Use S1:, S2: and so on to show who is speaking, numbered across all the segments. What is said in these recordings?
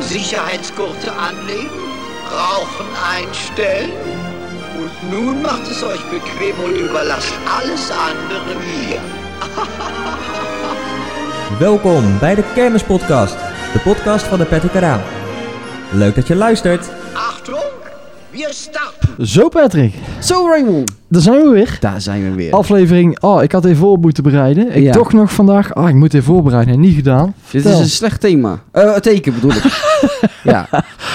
S1: Sicherheitsgurte anlegen, Rauchen einstellen. Und nun macht es euch bequem und überlasst alles andere mir.
S2: Welkom bij de Kermispodcast, de podcast van de Patrick Raam. Leuk dat je luistert.
S1: Achtung! Wir starten!
S3: Zo Patrick,
S4: Zo Raymond,
S3: daar zijn we weer.
S4: daar zijn we weer.
S3: Aflevering, oh ik had even voor moeten bereiden. Ik
S4: Ja.
S3: toch nog vandaag, ah ik moet even voorbereiden en niet gedaan.
S4: Dit
S3: Vertel.
S4: is een slecht thema. Eh, een teken bedoel ik. ja.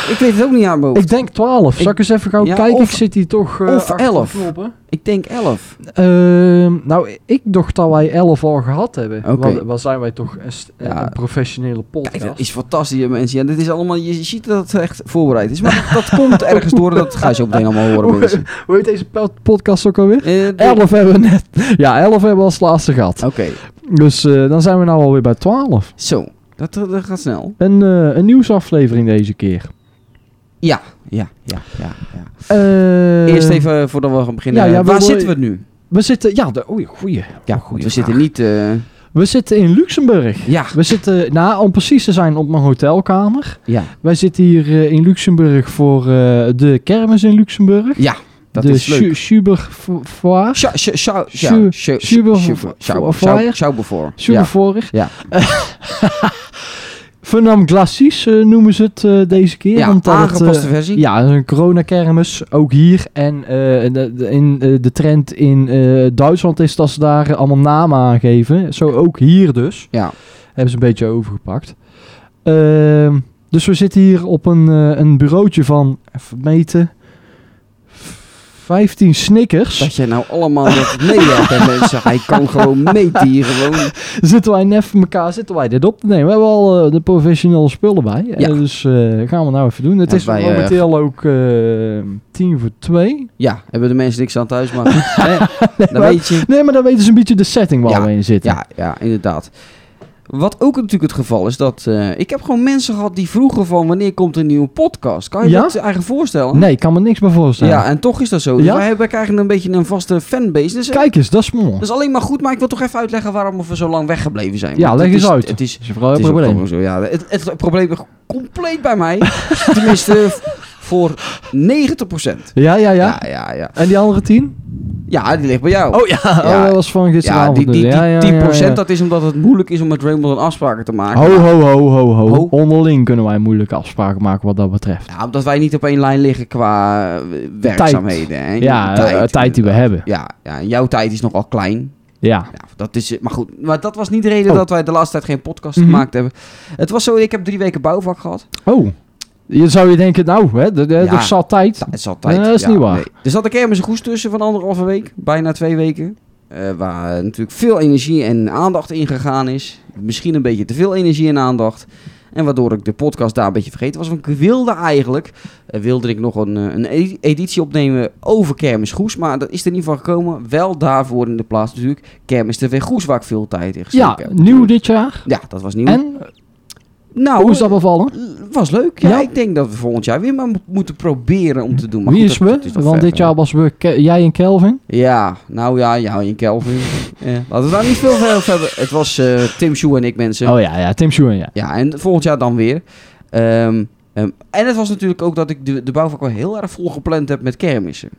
S4: Ik weet het ook niet aan mijn hoofd.
S3: Ik denk 12, zal ik eens even gauw
S4: Ja,
S3: kijken?
S4: of-
S3: ik zit hier toch eh,
S4: of
S3: achter
S4: 11.
S3: de knoppen.
S4: Ik denk 11.
S3: Ehm, nou, ik dacht dat wij 11 al gehad hebben.
S4: Oké.
S3: Want, wat zijn wij toch een, st-
S4: Ja.
S3: een professionele
S4: Kijk,
S3: podcast.
S4: dat is fantastisch hè, mensen. Ja, dit is allemaal, je je ziet dat het echt voorbereid is. Maar dat, dat komt ergens door. Dat ga je zo meteen allemaal horen mensen.
S3: Hoe heet deze pe- podcast ook alweer?
S4: Eh, de-
S3: 11 hebben we net. Ja, 11 hebben we als laatste gehad.
S4: Oké.
S3: Dus eh, dan zijn we nou alweer bij 12.
S4: Zo. Dat, dat gaat snel.
S3: Een, eh, een nieuwsaflevering deze keer.
S4: Ja. Ja. Ja. ja, ja.
S3: Eh,
S4: Eerst even eh, voordat we gaan beginnen.
S3: ja, ja,
S4: eh,
S3: we
S4: Waar
S3: wil-
S4: zitten we nu?
S3: We zitten, ja, de, oei, goeie.
S4: Ja,
S3: goeie
S4: goed. We
S3: vraag.
S4: zitten niet... eh,
S3: We zitten in Luxemburg.
S4: ja.
S3: We zitten, nou, om precies te zijn, op mijn hotelkamer.
S4: Ja.
S3: Wij zitten hier eh, in Luxemburg voor eh, de kermis in Luxemburg.
S4: Ja. Dat
S3: de
S4: is leuk.
S3: Schu- Schuberfoire.
S4: Scha- scha- scha-
S3: Schu-
S4: ja, scha-
S3: Schuber-
S4: Schuber-
S3: voor-
S4: Schau-
S3: voor-
S4: Schau- Schaubevoor. Ja.
S3: Schuberfoire.
S4: Ja.
S3: Vernam Glacis eh, noemen ze het eh, deze keer.
S4: Ja,
S3: omdat het, eh,
S4: aangepaste versie.
S3: Ja, dat is een coronakermis, ook hier. En eh, de, de- in, eh, de trend in eh, Duitsland is dat ze daar eh, allemaal namen aan geven. Zo ook hier dus.
S4: Ja.
S3: Hebben ze een beetje overgepakt. Ehm, dus we zitten hier op een, eh, een bureautje van, even meten, v- 15
S4: Dat
S3: snickers.
S4: jij nou allemaal dat meewerkt bij mensen. Hij kan gewoon meten hier gewoon.
S3: Zitten wij net voor elkaar, zitten wij dit op te nemen. We hebben al eh, de professionele spullen bij. Eh,
S4: Ja.
S3: dus eh, gaan we nou even doen. Het
S4: Ja,
S3: is
S4: wij, eh,
S3: momenteel ook eh, tien voor twee.
S4: Ja, hebben de mensen niks aan thuis, maar goed. Hè, dan
S3: maar-
S4: weet je.
S3: Nee, maar dan weten ze een beetje de setting waar
S4: Ja,
S3: we in zitten.
S4: Ja, ja, inderdaad. Wat ook natuurlijk het geval is, dat eh, ik heb gewoon mensen gehad die vroegen van wanneer komt er een nieuwe podcast. Kan je
S3: Ja?
S4: dat eigenlijk voorstellen?
S3: Nee, ik kan me niks bij voorstellen.
S4: Ja, en toch is dat zo. Dus
S3: Ja?
S4: wij, hebben, wij krijgen een beetje een vaste fanbase. Dus, eh,
S3: Kijk eens, dat is mooi.
S4: dat is alleen maar goed, maar ik wil toch even uitleggen waarom we zo lang weggebleven zijn.
S3: ja,
S4: Want
S3: leg
S4: het
S3: eens
S4: is-
S3: uit.
S4: Het is
S3: is vooral
S4: Het
S3: een
S4: is ook
S3: probleem.
S4: gewoon zo, ja. Het, het probleem is compleet bij mij. Tenminste, v- voor 90
S3: Ja, ja, ja, Oh,
S4: Ja, ja, ja.
S3: En die andere tien?
S4: Ja, die ligt bij jou.
S3: ja.
S4: Ja.
S3: dat was van
S4: ja,
S3: gisteravond.
S4: die, die, die
S3: dus. Ja, ja,
S4: 10
S3: ja, ja.
S4: dat is omdat het moeilijk is om met Raymond een afspraken te maken.
S3: Ho, ho, ho, ho, ho,
S4: Ho.
S3: Onderling kunnen wij moeilijke afspraken maken wat dat betreft.
S4: Ja, omdat wij niet op één lijn liggen qua eh, werkzaamheden. Hè?
S3: Ja, eh, tijd, die we hebben.
S4: Ja, ja, en jouw tijd is nogal klein.
S3: Ja.
S4: Ja, dat is, eh, maar goed, maar dat was niet de reden
S3: Oh.
S4: dat wij de laatste tijd geen podcast
S3: Mhm.
S4: gemaakt hebben. Het was zo, ik heb drie weken bouwvak gehad.
S3: Oh. Je zou je denken, nou, hè, er, er-
S4: Ja.
S3: er zal tijd.
S4: Ja, Het is altijd.
S3: Nee, dat is niet waar.
S4: Er zat een kermis een goes tussen van anderhalve week, bijna twee weken. Eh, waar natuurlijk veel energie en aandacht in gegaan is. Misschien een beetje te veel energie en aandacht. En waardoor ik de podcast daar een beetje vergeten was. Want ik wilde eigenlijk, eh, wilde ik nog een, eh, een edi- editie opnemen over Kermis Goes. Maar dat is er niet van gekomen. Wel daarvoor in de plaats natuurlijk Kermis TV Goes, waar ik veel tijd in gestoken
S3: Ja,
S4: heb.
S3: nieuw dit jaar.
S4: Ja, dat was nieuw.
S3: En
S4: nou,
S3: hoe is dat bevallen?
S4: was leuk. Ja,
S3: Ja.
S4: ik denk dat we volgend jaar weer maar mo- moeten proberen om te doen. Maar
S3: Wie
S4: goed,
S3: is
S4: dat-
S3: we?
S4: dat nog
S3: Want
S4: ver
S3: dit
S4: weg.
S3: jaar was we, Ke- jij en Kelvin.
S4: Ja, nou ja, jou en Kelvin. ja. Laten we daar niet veel verder over hebben. Het was eh, Tim Shoe en ik, mensen.
S3: Oh ja, ja, Tim Schoen, ja.
S4: Ja, en volgend jaar dan weer. Ehm, ehm, en het was natuurlijk ook dat ik de, de bouwvak wel heel erg vol gepland heb met kermissen.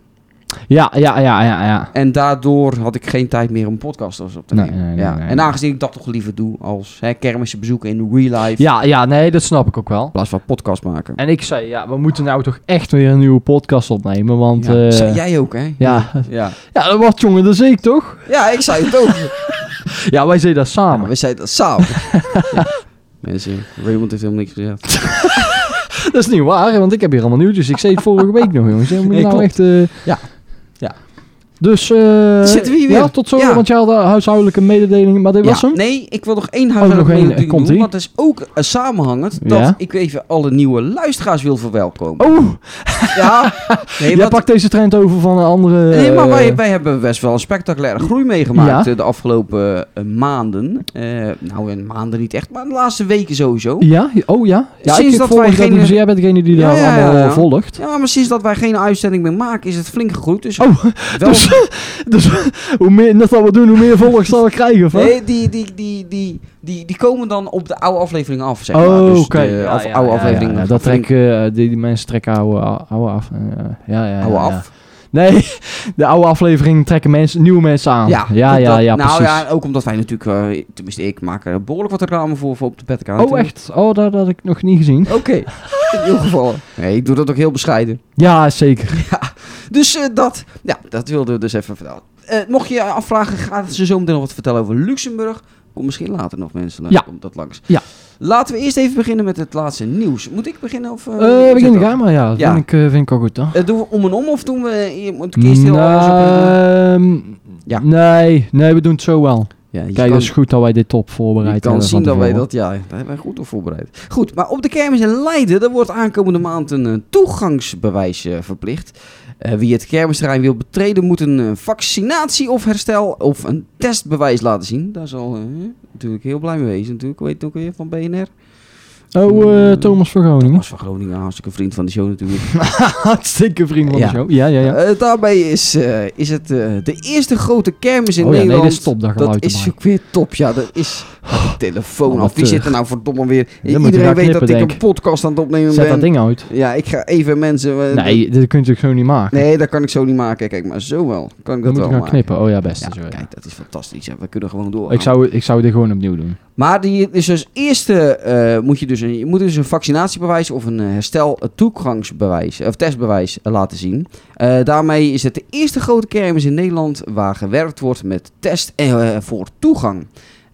S3: Ja, ja, ja, ja, ja.
S4: En daardoor had ik geen tijd meer om podcasts op te
S3: Nee,
S4: nemen.
S3: nee, nee,
S4: ja.
S3: nee.
S4: en aangezien ik dat toch liever doe als hè, kermissen bezoeken in real life.
S3: Ja, ja, nee, dat snap ik ook wel.
S4: In plaats van podcast maken.
S3: En ik zei, ja, we moeten nou toch echt weer een nieuwe podcast opnemen, want...
S4: ja.
S3: eh,
S4: Zei jij ook, hè?
S3: ja.
S4: Ja,
S3: ja, dat wordt jongen, dat zie ik toch?
S4: ja ik zei het ook.
S3: Ja, wij zeiden dat
S4: Ja,
S3: samen.
S4: we zeiden dat samen. Ja. Mensen, Raymond heeft helemaal niks gezegd.
S3: Dat is niet waar, want ik heb hier allemaal nieuwtjes. Ik zei het vorige week nog, jongens. Je moet
S4: Nee,
S3: nou
S4: klopt.
S3: echt... eh,
S4: Ja. Ja.
S3: Dus eh,
S4: Zitten we hier
S3: ja,
S4: weer?
S3: tot zo,
S4: Ja.
S3: want jij had eh, huishoudelijke mededelingen, maar dit was
S4: Ja,
S3: hem. Oh,
S4: Nee, ik wil nog één
S3: nog
S4: huishoudelijke
S3: één,
S4: mededeling
S3: komt
S4: doen.
S3: ie.
S4: Want het is ook eh, samenhangend dat
S3: Ja.
S4: ik even alle nieuwe luisteraars wil verwelkomen.
S3: Oh,
S4: Ja, nee,
S3: jij
S4: wat,
S3: pakt deze trend over van een andere...
S4: nee, maar
S3: eh,
S4: wij, wij hebben best wel een spectaculaire groei meegemaakt
S3: Ja.
S4: eh, de afgelopen eh, maanden. Eh, nou, in maanden niet echt, maar de laatste weken sowieso.
S3: Ja, oh ja. Ja,
S4: Sinds
S3: ik
S4: dat
S3: volg
S4: wij
S3: dat
S4: geen-
S3: niet, dus jij bent degene die
S4: Ja,
S3: daar
S4: ja, ja,
S3: allemaal eh,
S4: ja.
S3: volgt.
S4: Ja, maar sinds dat wij geen uitzending meer maken, is het flink gegroeid. Dus
S3: Oh,
S4: wel
S3: dus, dus hoe meer net dat we doen, hoe meer volgers zal ik krijgen. Of, wat?
S4: Nee, die, die, die, die, die, die komen dan op de oude aflevering af, zeg maar.
S3: Oh,
S4: Dus
S3: oké.
S4: de af- oude aflevering.
S3: Ja, ja, dat trek, eh, die, die mensen trekken oude, oude af. eh, ja, ja, ja,
S4: Oude
S3: ja.
S4: af.
S3: Nee, de oude aflevering trekken mensen, nieuwe mensen aan. Ja, ja,
S4: dat-
S3: ja,
S4: dat- nou,
S3: precies. Oh,
S4: ja, ook omdat wij natuurlijk, eh, tenminste ik, maak er behoorlijk wat reclame voor, voor op de bedkaart.
S3: oh, echt? Oh, dat, dat had ik nog niet gezien.
S4: Oké, in ieder geval. Nee, ik doe dat ook heel bescheiden.
S3: Ja, zeker.
S4: Dus eh, dat, ja, dat wilden we dus even vertellen. Eh, mocht je je afvragen, gaat ze zo meteen nog wat vertellen over Luxemburg? Kom misschien later nog mensen,
S3: Ja.
S4: ja. komt dat langs.
S3: Ja.
S4: Laten we eerst even beginnen met het laatste nieuws. Moet ik beginnen? Of, eh,
S3: Eh begin de
S4: zet dat?
S3: camera, ja. Dat
S4: Ja.
S3: Vind, ik, eh, vind ik al goed, dan.
S4: Eh, doen we om en om of doen we... eh, Moet ik
S3: Mm,
S4: eerst heel alles op... eh,
S3: Ehm,
S4: Ja.
S3: nee, nee, we doen het zo wel.
S4: Ja, je
S3: Kijk,
S4: kan-
S3: dat is goed dat wij dit top voorbereid
S4: Je
S3: hebben.
S4: kan zien
S3: van
S4: dat wij
S3: tevoren.
S4: dat, ja, daar hebben wij goed op voorbereid. Goed, maar op de kermis in Leiden, daar wordt aankomende maand een eh, toegangsbewijs eh, verplicht. Eh, wie het kermisterrein wil betreden, moet een eh, vaccinatie of herstel of een testbewijs laten zien. Daar zal eh, natuurlijk heel blij mee wezen natuurlijk, weet het ook weer, van BNR.
S3: Oh, eh, Thomas van Groningen.
S4: Thomas van Groningen, hartstikke vriend van de show natuurlijk.
S3: Hartstikke vriend van
S4: Ja.
S3: de show. Ja, ja, ja.
S4: Eh, daarbij is, eh, is het eh, de eerste grote kermis in
S3: oh ja, nee,
S4: Nederland.
S3: dat is top, dat geluid
S4: Dat is
S3: erbij.
S4: ook weer top, ja. Dat is Gaat
S3: Oh,
S4: de telefoon af. Wie
S3: Amateur.
S4: zit er nou verdomme weer?
S3: eh, Dan moet je
S4: Iedereen
S3: gaan
S4: weet dat
S3: knippen,
S4: ik een
S3: denk.
S4: podcast aan het opnemen
S3: Zet
S4: Eh, ben.
S3: dat ding uit.
S4: Ja, ik ga even mensen... eh,
S3: Nee, dit kun je natuurlijk zo niet maken.
S4: nee, dat kan ik zo niet maken. Kijk, maar zo wel. Kan
S3: Dan
S4: ik dat
S3: moet
S4: wel
S3: ik gaan
S4: maken.
S3: knippen. Oh ja, best.
S4: Ja,
S3: is wel, ja.
S4: kijk, dat is fantastisch. hè. We kunnen gewoon door.
S3: ik, zou, ik zou dit gewoon opnieuw doen.
S4: Maar die is als eerste eh, moet je dus een, je moet dus een vaccinatiebewijs of een eh, herstel een toegangsbewijs of testbewijs eh, laten zien. Eh, daarmee is het de eerste grote kermis in Nederland waar gewerkt wordt met test eh, voor toegang.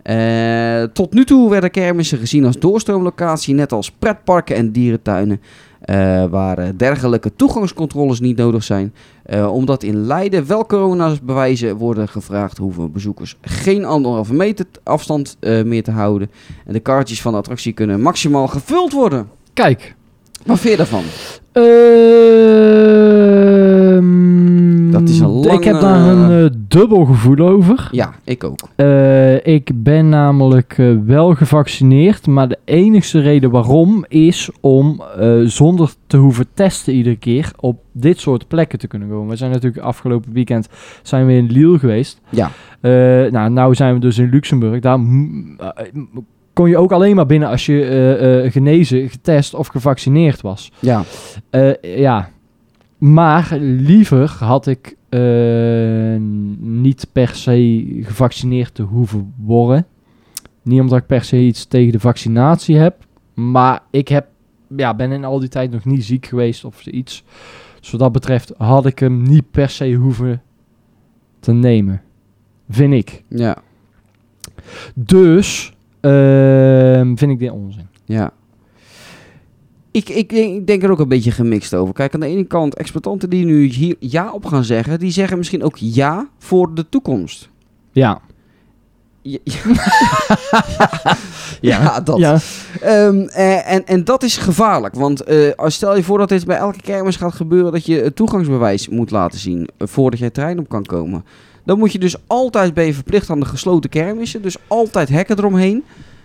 S4: Eh, tot nu toe werden kermissen gezien als doorstroomlocatie, net als pretparken en dierentuinen, eh, waar eh, dergelijke toegangscontroles niet nodig zijn. Eh, omdat in Leiden wel coronabewijzen worden gevraagd, hoeven bezoekers geen anderhalve meter t- afstand eh, meer te houden. En de kaartjes van de attractie kunnen maximaal gevuld worden.
S3: Kijk.
S4: Wat vind je daarvan?
S3: Ehm,
S4: Dat is een
S3: Ik heb
S4: lange-
S3: daar een eh, dubbel gevoel over.
S4: Ja, ik ook.
S3: Eh, ik ben namelijk eh, wel gevaccineerd, maar de enigste reden waarom is om eh, zonder te hoeven testen iedere keer op dit soort plekken te kunnen komen. We zijn natuurlijk afgelopen weekend zijn we in Lille geweest.
S4: Ja.
S3: Eh, nou, nou zijn we dus in Luxemburg. Daar m- eh, m- kon je ook alleen maar binnen als je eh, eh, genezen, getest of gevaccineerd was.
S4: Ja.
S3: Eh, ja. Maar liever had ik eh, niet per se gevaccineerd te hoeven worden. Niet omdat ik per se iets tegen de vaccinatie heb. Maar ik heb, ja, ben in al die tijd nog niet ziek geweest of iets. Dus wat dat betreft had ik hem niet per se hoeven te nemen. Vind ik.
S4: Ja.
S3: Dus eh, vind ik dit onzin.
S4: Ja. Ik, ik, denk- ik denk er ook een beetje gemixt over. Kijk, aan de ene kant, exploitanten die nu hier ja op gaan zeggen, die zeggen misschien ook ja voor de toekomst.
S3: Ja.
S4: Ja, ja, dat.
S3: Ja.
S4: Ehm, eh, en, en dat is gevaarlijk. Want eh, als stel je voor dat dit bij elke kermis gaat gebeuren... dat je het toegangsbewijs moet laten zien... eh, voordat jij het terrein op kan komen. Dan moet je dus altijd... ben je verplicht aan de gesloten kermissen. Dus altijd hekken eromheen.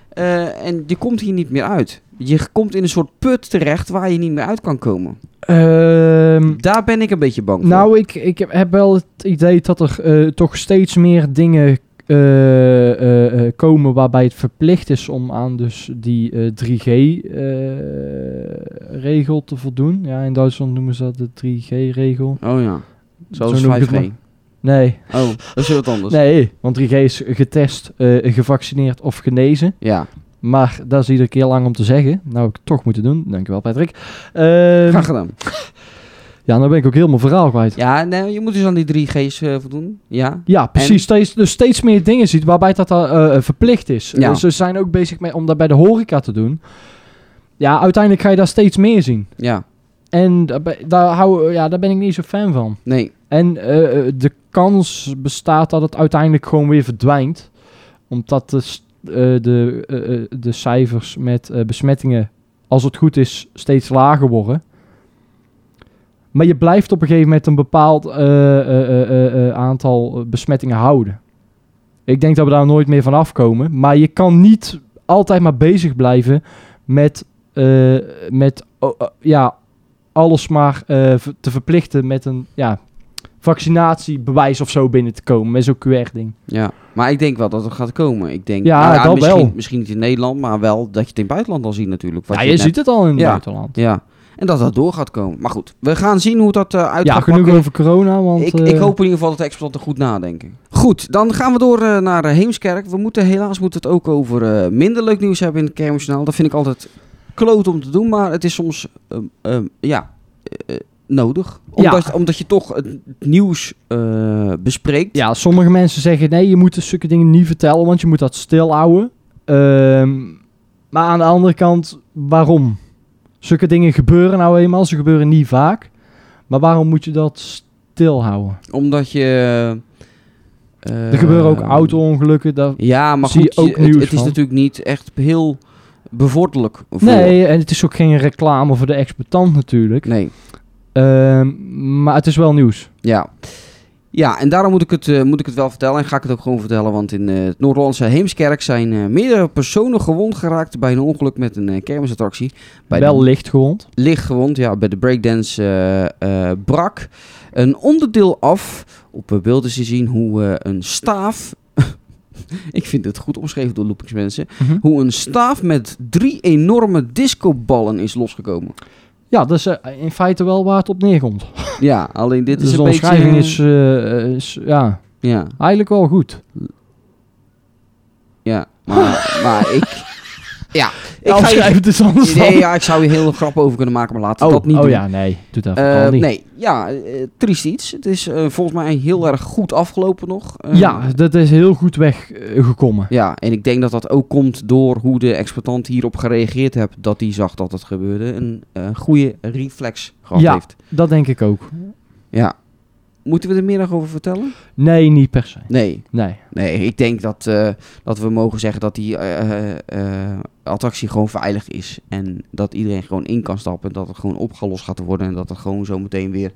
S4: Eh, en je komt hier niet meer uit. Je komt in een soort put terecht... waar je niet meer uit kan komen.
S3: Ehm,
S4: Daar ben ik een beetje bang voor.
S3: Nou, ik, ik heb- heb wel het idee dat er eh, toch steeds meer dingen eh, eh, eh, komen waarbij het verplicht is om aan dus die 3G-regel eh, te voldoen. Ja, in Duitsland noemen ze dat de 3G-regel.
S4: Oh ja. Zoals
S3: Zo noem ik het
S4: 5G.
S3: Nee,
S4: Oh, dat is wat anders.
S3: nee, want 3G is getest, eh, gevaccineerd of genezen.
S4: Ja.
S3: Maar dat is iedere keer lang om te zeggen. Nou, ik het toch moeten doen. Dankjewel, Patrick. Ehm,
S4: Graag gedaan.
S3: ja, dan ben ik ook helemaal verhaal kwijt.
S4: Ja, nee, je moet dus aan die 3G's eh, voldoen. Ja.
S3: Ja, precies. Steeds, dus steeds meer dingen ziet waarbij dat eh, eh, verplicht is.
S4: Ja.
S3: Eh, ze zijn ook bezig met, om dat bij de horeca te doen. Ja, uiteindelijk ga je daar steeds meer zien.
S4: Ja.
S3: En daar, ben- daar, hou, ja, daar ben ik niet zo fan van.
S4: Nee.
S3: En En eh, eh, de kans bestaat dat het uiteindelijk gewoon weer verdwijnt. Omdat de, s- eh, de, eh, eh, de cijfers met eh, besmettingen, als het goed is, steeds lager worden. Maar je blijft op een gegeven moment een bepaald eh, eh, eh, eh, eh, aantal eh, besmettingen houden. Ik denk dat we daar nooit meer van afkomen. Maar je kan niet altijd maar bezig blijven met, eh, met oh, eh, ja, alles maar eh, v- te verplichten met een ja, vaccinatiebewijs of zo binnen te komen. Met zo'n QR-ding.
S4: Ja, maar ik denk wel dat het gaat komen. Ik denk,
S3: Ja,
S4: nou
S3: dat
S4: misschien,
S3: wel.
S4: misschien niet in Nederland, maar wel dat je het in het buitenland al ziet natuurlijk. Wat
S3: Ja, je
S4: net-
S3: ziet het al in het
S4: Ja.
S3: buitenland.
S4: Ja, en dat dat door gaat komen. Maar goed, we gaan zien hoe dat eh uit
S3: Ja,
S4: gaat
S3: genoeg
S4: pakken.
S3: over corona, want...
S4: Ik,
S3: eh,
S4: ik hoop in ieder geval dat de experten goed nadenken. Goed, dan gaan we door eh, naar eh, Heemskerk. We moeten helaas moeten we het ook over eh, minder leuk nieuws hebben in het kermisjournaal. Dat vind ik altijd kloot om te doen, maar het is soms ehm, ehm, ja, eh, eh, nodig. Omdat, omdat je toch het nieuws eh, bespreekt.
S3: Ja, sommige mensen zeggen nee, je moet zulke dingen niet vertellen, want je moet dat stilhouden. Ehm, maar aan de andere kant, waarom? Zulke dingen gebeuren nou eenmaal, ze gebeuren niet vaak. Maar waarom moet je dat stilhouden?
S4: Omdat je... eh,
S3: Er gebeuren ook
S4: ehm,
S3: auto-ongelukken. dat-
S4: Ja, maar
S3: Zie
S4: goed,
S3: je ook
S4: je- het,
S3: nieuws
S4: het is
S3: van.
S4: natuurlijk niet echt heel bevorderlijk voor...
S3: Nee, en het is ook geen reclame voor de exploitant natuurlijk.
S4: Nee,
S3: Ehm, maar het is wel nieuws.
S4: ja. Ja, en daarom moet ik, het, eh, moet ik het wel vertellen en ga ik het ook gewoon vertellen. Want in eh, het Noord-Hollandse Heemskerk zijn eh, meerdere personen gewond geraakt bij een ongeluk met een eh, kermisattractie. Bij de-
S3: wel licht gewond.
S4: licht gewond, ja, bij de breakdance eh, eh, brak een onderdeel af. Op eh, beeld is te zien hoe eh, een staaf. Ik vind het goed omschreven door Loopings mensen.
S3: Mhm.
S4: Hoe een staaf met drie enorme discoballen is losgekomen.
S3: Ja, dat is eh, in feite wel waar het op neerkomt.
S4: Ja, alleen dit
S3: dus
S4: is
S3: de
S4: een beetje...
S3: omschrijving is, eh, is ja,
S4: Ja,
S3: eigenlijk wel goed.
S4: ja. Maar, maar ik... Ja, ik ga je-
S3: Afschrijven het is anders dan.
S4: Nee, ja, ik zou hier heel grap over kunnen maken, maar laten we dat niet
S3: oh
S4: doen.
S3: ja, nee. Doe dat
S4: Eh,
S3: vooral niet.
S4: nee, ja, eh, triest iets. Het is eh, volgens mij heel erg goed afgelopen nog. Eh,
S3: ja, dat is heel goed weggekomen.
S4: Ja, en ik denk dat dat ook komt door hoe de exploitant hierop gereageerd heeft. Dat hij zag dat het gebeurde. Een eh, goede reflex gehad
S3: Ja.
S4: heeft.
S3: Dat denk ik ook.
S4: Ja. Moeten we er meer nog over vertellen?
S3: Nee, niet per se.
S4: Nee.
S3: Nee.
S4: Nee, ik denk dat, eh, dat we mogen zeggen dat die eh, eh, attractie gewoon veilig is. En dat iedereen gewoon in kan stappen. En dat het gewoon opgelost gaat worden. En dat het gewoon zo meteen weer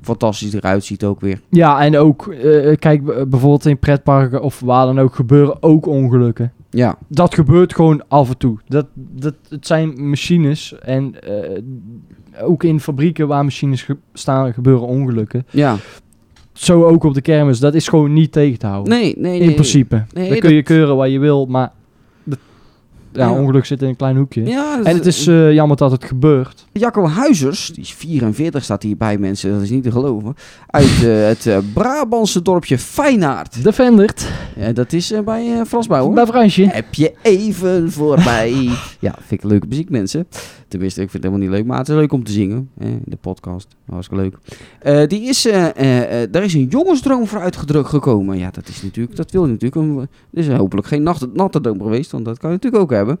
S4: fantastisch eruit ziet ook weer.
S3: Ja, en ook, eh, kijk, b- bijvoorbeeld in pretparken of waar dan ook gebeuren ook ongelukken.
S4: Ja,
S3: Dat gebeurt gewoon af en toe. Dat, dat, het zijn machines en eh, ook in fabrieken waar machines ge- staan gebeuren ongelukken.
S4: ja.
S3: Zo ook op de kermis. Dat is gewoon niet tegen te houden.
S4: Nee, nee, nee.
S3: in principe.
S4: Nee,
S3: dan kun je keuren waar je wil, maar dat- ja,
S4: Ja.
S3: ongeluk zit in een klein hoekje.
S4: Ja,
S3: En het is eh, jammer dat het gebeurt.
S4: Jacco Huizers, die is 44, staat hier bij mensen, dat is niet te geloven. Uit eh, het eh, Brabantse dorpje Feyenaard.
S3: De Vendert,
S4: Eh, dat is eh, bij eh, Frans Bauer.
S3: bij Fransje.
S4: Heb je even voorbij. ja, vind ik leuke muziek, mensen. Tenminste, ik vind het helemaal niet leuk, maar het is leuk om te zingen. Eh, in de podcast, hartstikke leuk. Eh, die is, eh, eh, eh, daar is een jongensdroom voor uitgedrukt gekomen. Ja, dat is natuurlijk, dat wil je natuurlijk. Een, er is hopelijk geen nacht, natte droom geweest, want dat kan je natuurlijk ook hebben.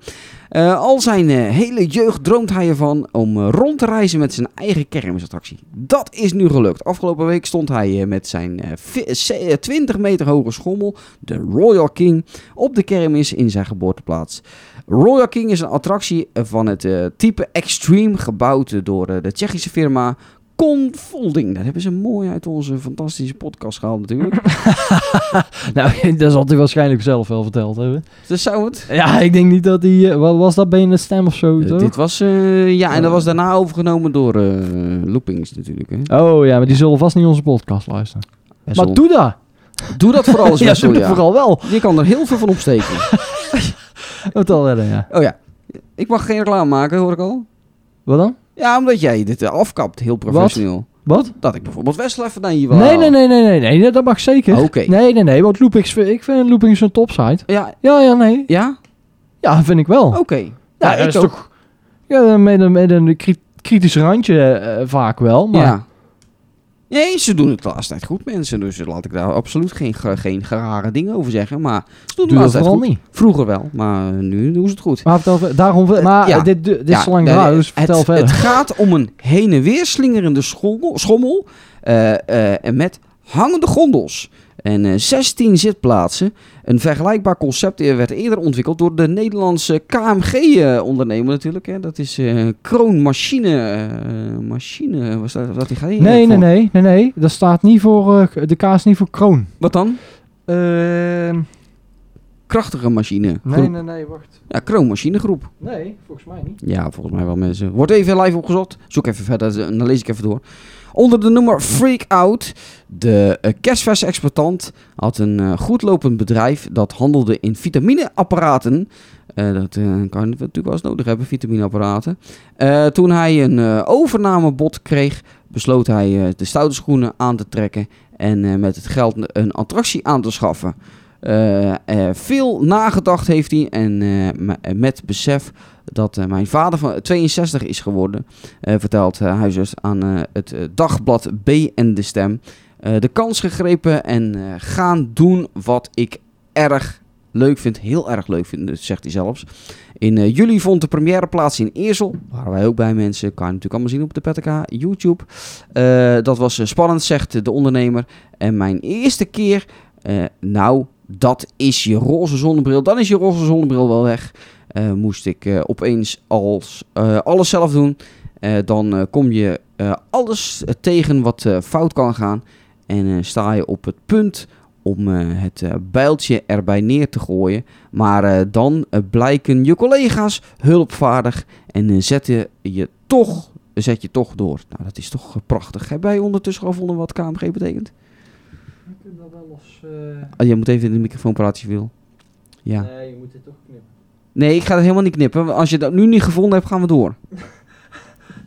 S4: Eh, al zijn eh, hele jeugd droomt hij ervan om eh, rond te reizen met zijn eigen kermisattractie. Dat is nu gelukt. Afgelopen week stond hij eh, met zijn eh, vi- se- eh, 20 meter hoge schommel, de Royal King, op de kermis in zijn geboorteplaats. Royal King is een attractie eh, van het eh, type Extreme, gebouwd eh, door eh, de Tsjechische firma Confolding. Dat hebben ze mooi uit onze fantastische podcast gehaald natuurlijk.
S3: Nou, dat zal hij waarschijnlijk zelf wel verteld hebben.
S4: dus zou het.
S3: Ja, ik denk niet dat hij... eh, wat was dat, benen stem of zo,
S4: Eh,
S3: toch?
S4: dit was, eh, ja, en dat was daarna overgenomen door eh, Loopings natuurlijk. Hè.
S3: Oh ja, maar die zullen vast niet onze podcast luisteren.
S4: Wessel.
S3: Maar doe dat!
S4: doe dat vooral eens,
S3: ja,
S4: Wessel,
S3: doe dat
S4: ja.
S3: vooral wel.
S4: Je kan er heel veel van opsteken.
S3: Wat al redden, ja.
S4: Oh ja, ik mag geen reclame maken, hoor ik al.
S3: Wat dan?
S4: Ja, omdat jij dit eh, afkapt, heel professioneel.
S3: Wat?
S4: Dat ik bijvoorbeeld Wessel even naar je wil
S3: Nee,
S4: halen.
S3: nee, nee, nee, nee, nee, nee, dat mag zeker.
S4: Ah, Oké.
S3: Nee, nee, nee, want Loopings, ik vind Loopings een topsite.
S4: Ja,
S3: Ja, ja, nee.
S4: ja?
S3: Ja, vind ik wel.
S4: Oké.
S3: Oh, ja,
S4: ik
S3: dat is toch... Ja, met een, met een kri- kritisch randje eh, vaak wel, maar...
S4: Ja. Nee, ze doen het de laatste tijd goed, mensen. Dus laat ik daar absoluut geen, ge- geen rare dingen over zeggen. Maar ze doen het de
S3: Doe dat
S4: laatste tijd
S3: vooral
S4: goed.
S3: niet.
S4: Vroeger wel, maar nu doen ze het goed.
S3: Maar, vertel, ver- daarom, maar
S4: ja.
S3: eh, dit, dit
S4: Ja,
S3: is zo lang
S4: eh,
S3: geleden, dus
S4: het-
S3: vertel
S4: het,
S3: verder.
S4: gaat om een heen en weer slingerende schommel, schommel eh, eh, en met hangende gondels. En eh, 16 zitplaatsen. Een vergelijkbaar concept eh, werd eerder ontwikkeld door de Nederlandse KMG-ondernemer natuurlijk. Hè. Dat is eh, Kroon Machine. eh, machine, was dat, wat die gaat
S3: nee, nee, nee, nee, nee. Dat staat niet voor, eh, de kaas niet voor kroon.
S4: Wat dan?
S3: Ehm,
S4: Krachtige machine.
S3: nee,
S4: Groep.
S3: nee, nee, wacht.
S4: Ja, Kroon Machine Groep.
S3: Nee, volgens mij niet.
S4: Ja, volgens mij wel mensen. Wordt even live opgezocht. Zoek even verder en dan lees ik even door. Onder de noemer Freak Out, de eh, kerstvers-exploitant, had een eh, goedlopend bedrijf dat handelde in vitamineapparaten. Eh, dat eh, kan je natuurlijk wel eens nodig hebben, vitamineapparaten. Eh, toen hij een eh, overnamebod kreeg, besloot hij eh, de stoute schoenen aan te trekken en eh, met het geld een attractie aan te schaffen. Eh, eh, veel nagedacht heeft hij en eh, me- met besef dat eh, mijn vader van 62 is geworden, eh, vertelt eh, huisarts aan eh, het eh, dagblad B en de Stem. Eh, de kans gegrepen en eh, gaan doen wat ik erg leuk vind. Heel erg leuk vind, dat zegt hij zelfs. In eh, juli vond de première plaats in Eersel. Waren wij ook bij mensen. Kan je natuurlijk allemaal zien op de Petka YouTube. Eh, dat was eh, spannend, zegt de ondernemer. En mijn eerste keer, eh, nou, dat is je roze zonnebril. Dan is je roze zonnebril wel weg. Eh, moest ik eh, opeens als, eh, alles zelf doen. Eh, dan eh, kom je eh, alles eh, tegen wat eh, fout kan gaan. En eh, sta je op het punt om eh, het eh, bijltje erbij neer te gooien. Maar eh, dan eh, blijken je collega's hulpvaardig en eh, zetten je toch, zet je toch door. Nou, dat is toch eh, prachtig. Heb jij ondertussen gevonden wat KMG betekent? Ah, je moet even in de microfoon praten als je wil. Ja.
S3: eh, Nee, je moet dit toch knippen.
S4: Nee, ik ga dat helemaal niet knippen. want Als je dat nu niet gevonden hebt, gaan we door.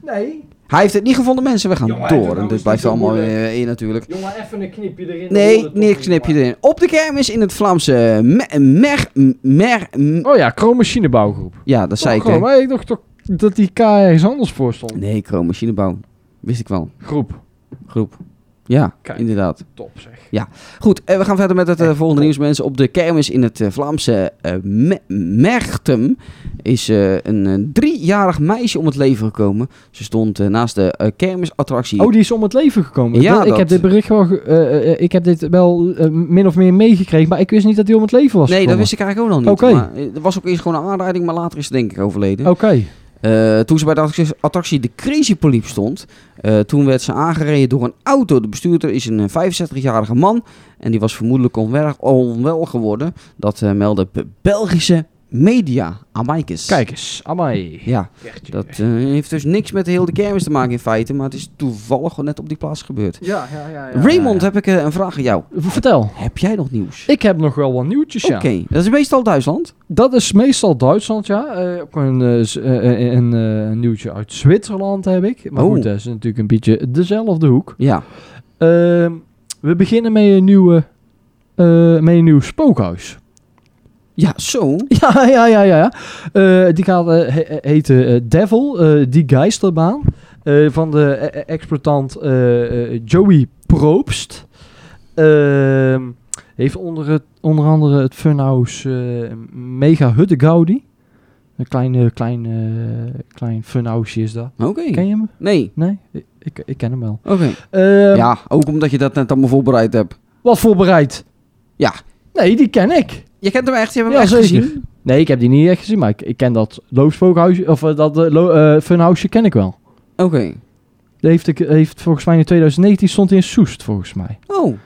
S3: Nee,
S4: Hij heeft het niet gevonden, mensen. We gaan
S3: Jongen, doe
S4: door.
S3: nou
S4: En dit
S3: eens
S4: blijft
S3: niet zo
S4: allemaal
S3: moeilijk.
S4: eh, in natuurlijk.
S3: jongen, even een knipje erin.
S4: Nee, niks knip je erin. Op de kermis in het Vlaamse me- mer... mer, m-
S3: Oh ja, kroonmachinebouwgroep.
S4: ja, dat zei ik.
S3: Toch,
S4: hè.
S3: maar ik dacht toch dat die K ergens anders voor stond.
S4: Nee, kroonmachinebouw. Wist ik wel.
S3: Groep.
S4: Groep. Ja,
S3: Kijk.
S4: inderdaad.
S3: Top zeg.
S4: Goed, eh, we gaan verder met het eh, volgende nieuws, mensen. Op de kermis in het eh, Vlaamse eh, Me- Merchtem is eh, een eh, driejarig meisje om het leven gekomen. Ze stond eh, naast de eh, kermisattractie.
S3: Oh, die is om het leven gekomen.
S4: Ja,
S3: Dat- ik
S4: dat-
S3: heb dit bericht wel, ge- eh, eh, eh, ik heb dit wel eh, min of meer meegekregen, maar ik wist niet dat hij om het leven was
S4: nee, dat
S3: gekomen.
S4: wist ik eigenlijk ook nog niet.
S3: Oké.
S4: Maar, eh, er was ook eerst gewoon een aanrijding, maar later is ze denk ik overleden.
S3: Oké.
S4: Eh, toen ze bij de attractie- attractie De Crazy Poliep stond, eh, toen werd ze aangereden door een auto. De bestuurder is een eh, 65-jarige man en die was vermoedelijk onwer- onwel geworden. Dat eh meldde B- Belgische media. Amaikes.
S3: Kijk eens. Amai.
S4: Ja, dat eh, heeft dus niks met de hele kermis te maken in feite, maar het is toevallig gewoon net op die plaats gebeurd.
S3: Ja, ja, ja.
S4: Raymond, heb ik eh, een vraag aan jou.
S3: Vertel.
S4: Heb jij nog nieuws?
S3: Ik heb nog wel wat nieuwtjes,
S4: Oké,
S3: ja.
S4: dat is meestal Duitsland.
S3: Dat is meestal Duitsland, ja. Eh, ook een, eh, z- eh, eh, een, eh, een nieuwtje uit Zwitserland heb ik. Maar
S4: Oh.
S3: goed, dat is natuurlijk een beetje dezelfde hoek.
S4: Ja.
S3: Ehm, we beginnen met een, nieuwe, eh, met een nieuw spookhuis.
S4: Ja, zo.
S3: Ja, ja, ja, ja. ja. Eh, die gaat eh, he- heten eh, Devil, eh, die geisterbaan. eh, van de eh, eh, exploitant eh, eh, Joey Probst. Ehm, heeft onder, het, onder andere het funhouse eh, Mega Hutte Gaudi. Een kleine, klein, eh, klein funhouse is dat.
S4: Oké.
S3: Ken je hem?
S4: Nee.
S3: Nee? Ik- Ik, ik ken hem wel.
S4: Oké.
S3: Ehm,
S4: Ja, ook omdat je dat net allemaal voorbereid hebt.
S3: Wat voorbereid?
S4: Ja.
S3: Nee, die ken ik.
S4: Je kent hem echt, je hebt
S3: Ja,
S4: hem echt
S3: zeker.
S4: gezien.
S3: Nee, ik heb die niet echt gezien, maar ik, ik ken dat loofspookhuisje, of eh, dat eh, lo- eh, funhouseje ken ik wel.
S4: Oké.
S3: Die heeft, ik, heeft volgens mij in 2019 stond hij in Soest, volgens mij.
S4: Oh,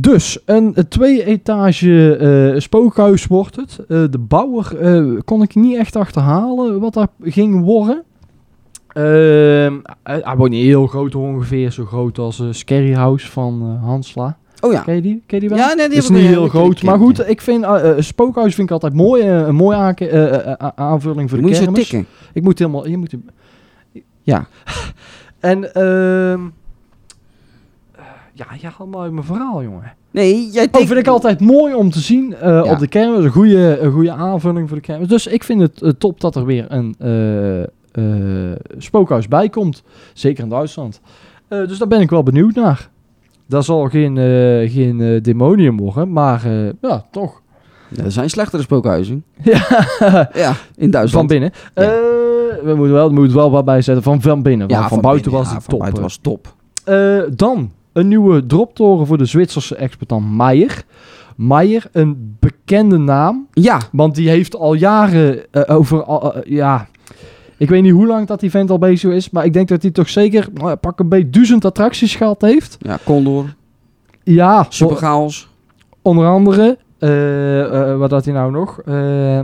S3: Dus, een eh, twee-etage eh, spookhuis wordt het. Eh, de bouwer eh, kon ik niet echt achterhalen wat daar ging worden. Ehm, hij, hij wordt niet heel groot, ongeveer zo groot als eh Scary House van eh, Hansla.
S4: oh ja.
S3: Ken je die? Ken je die wel?
S4: Ja, nee, die
S3: Het is
S4: heb ik
S3: niet
S4: weer-
S3: heel
S4: ik-
S3: groot,
S4: ik-
S3: maar goed, ik vind eh eh, spookhuis vind ik altijd mooi, eh, een mooie aanke- eh, eh, a- aanvulling voor de
S4: Moet je zo
S3: kermis.
S4: tikken.
S3: Ik moet helemaal. Je moet hem-
S4: Ja.
S3: en ehm eh, ja, jij haalt maar uit mijn verhaal, jongen.
S4: Nee, jij
S3: Dat
S4: tikt.
S3: Oh, vind ik altijd mooi om te zien eh,
S4: Ja.
S3: op de kermis. Een goede, een goede aanvulling voor de kermis. Dus ik vind het eh, top dat er weer een eh, eh, spookhuis bij komt. Zeker in Duitsland. Eh, dus daar ben ik wel benieuwd naar. Dat zal geen, eh, geen eh, demonium worden, maar eh, ja, toch.
S4: Ja, er zijn slechtere spookhuizen.
S3: Ja,
S4: Ja, in
S3: van
S4: Duitsland.
S3: binnen.
S4: Ja.
S3: Eh, we moeten wel, we moeten wel wat bijzetten van van binnen. want
S4: ja,
S3: van, buiten
S4: binnen.
S3: was
S4: Ja,
S3: die
S4: van
S3: top.
S4: buiten was top.
S3: Eh, dan een nieuwe droptoren voor de Zwitserse exportant Meijer. Meijer, een bekende naam,
S4: Ja,
S3: want die heeft al jaren eh, over... al- eh, ja, ik weet niet hoe lang dat die vent al bezig is, maar ik denk dat hij toch zeker eh, pak een beetje duizend attracties gehad heeft.
S4: ja Condor,
S3: Ja,
S4: Superchaos.
S3: Onder andere, eh, eh, wat had hij nou nog? Eh,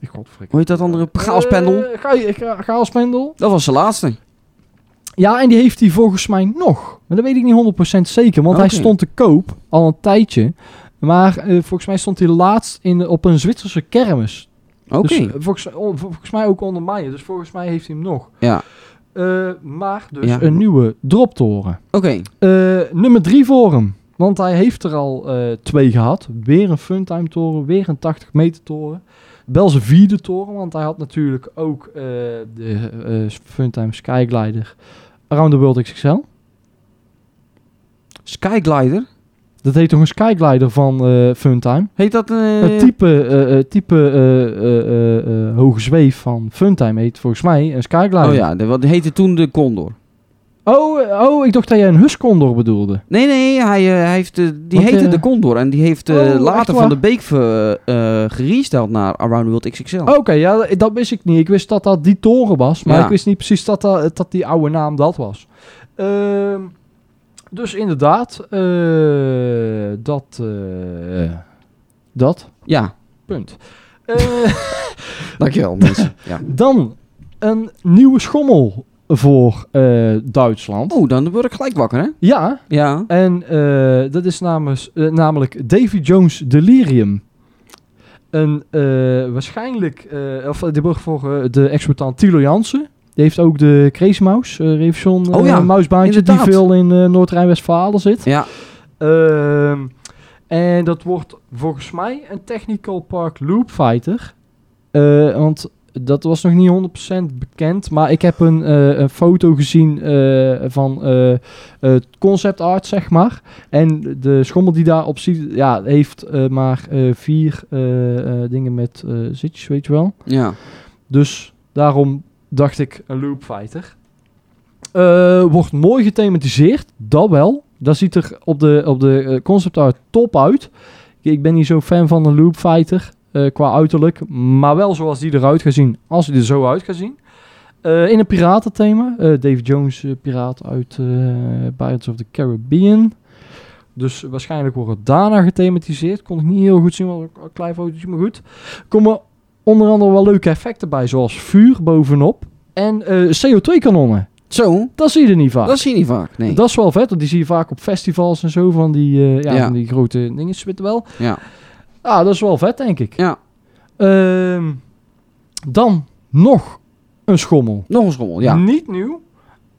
S3: ik godverdikke.
S4: Hoe heet dat andere? Chaospendel.
S3: Eh, Ga- Ga- Chaospendel.
S4: Dat was de laatste.
S3: Ja, en die heeft hij volgens mij nog. Maar dat weet ik niet 100% zeker, want
S4: Oké.
S3: hij stond te koop al een tijdje. Maar eh, volgens mij stond hij laatst in, op een Zwitserse kermis.
S4: Oké.
S3: Dus, eh, volgens, oh, volgens mij ook onder mij. Dus volgens mij heeft hij hem nog.
S4: Ja.
S3: Eh, maar dus
S4: Ja.
S3: een nieuwe droptoren.
S4: Oké.
S3: Eh, nummer 3 voor hem. Want hij heeft er al eh, twee gehad. Weer een funtime toren, weer een 80 meter toren. Wel zijn vierde toren, want hij had natuurlijk ook eh, de eh, funtime skyglider Around the World XXL.
S4: Skyglider.
S3: Dat heet toch een skyglider van eh, funtime?
S4: Heet dat... eh,
S3: Het type, eh, eh, type eh, eh, eh, eh, hoge zweef van funtime heet volgens mij een skyglider.
S4: Oh ja, de, wat heette toen de Condor.
S3: oh, eh, oh, ik dacht dat jij een Huscondor bedoelde.
S4: Nee, nee, hij, eh, hij heeft, eh, die
S3: Want,
S4: heette
S3: eh,
S4: de Condor. En die heeft eh,
S3: Oh, echt
S4: later
S3: waar?
S4: van de Beek ver, eh, gerestyled naar Around the World XXL.
S3: Oké, ja, dat- dat wist ik niet. Ik wist dat dat die toren was, maar
S4: Oh. Ja.
S3: ik wist niet precies dat, dat, dat die oude naam dat was. Ehm, dus inderdaad, eh, dat, eh, dat,
S4: Ja,
S3: punt. Eh,
S4: dankjewel mensen. ja.
S3: dan een nieuwe schommel voor eh, Duitsland.
S4: Oh, dan word ik gelijk wakker, hè?
S3: Ja,
S4: Ja.
S3: en eh, dat is namens, eh, namelijk Davy Jones Delirium. Een eh, waarschijnlijk, eh, of eh, die wordt voor eh, de exportant Tilo Jansen. Die heeft ook de Crazy Mouse, eh Revison
S4: Oh ja,
S3: muisbaantje
S4: inderdaad.
S3: die veel in eh, Noord-Rijn-Westfalen zit.
S4: Ja,
S3: Ehm, en dat wordt volgens mij een Technical Park Loop Fighter. Eh, want dat was nog niet 100% bekend. Maar ik heb een, eh, een foto gezien eh, van eh, eh, concept art, zeg maar. En de schommel die daarop ziet, ja, heeft eh, maar eh, vier eh, eh, dingen met eh, zitjes, weet je wel.
S4: ja.
S3: Dus daarom dacht ik een Loop Fighter. Eh, wordt mooi gethematiseerd, dat wel. Dat ziet er op de, op de eh, concept art top uit. Ik- Ik ben niet zo fan van een Loop Fighter eh, qua uiterlijk. Maar wel zoals die eruit gaat zien, als die er zo uit gaat zien. Eh, in een piratenthema. eh Dave Jones, eh, piraat uit eh, Pirates of the Caribbean. Dus waarschijnlijk wordt het daarna gethematiseerd. Kon ik niet heel goed zien, want een klein fotootje, maar goed. Komen onder andere wel leuke effecten bij, zoals vuur bovenop en eh, CO2-kanonnen.
S4: Zo,
S3: Dat zie je er niet vaak.
S4: dat zie je niet vaak. Nee.
S3: Dat is wel vet, want die zie je vaak op festivals en zo van die, eh, ja,
S4: Ja.
S3: Van die grote dingen zitten wel.
S4: Ja.
S3: Ah, dat is wel vet, denk ik.
S4: Ja.
S3: Ehm, dan nog een schommel.
S4: Nog een schommel, ja.
S3: Niet nieuw,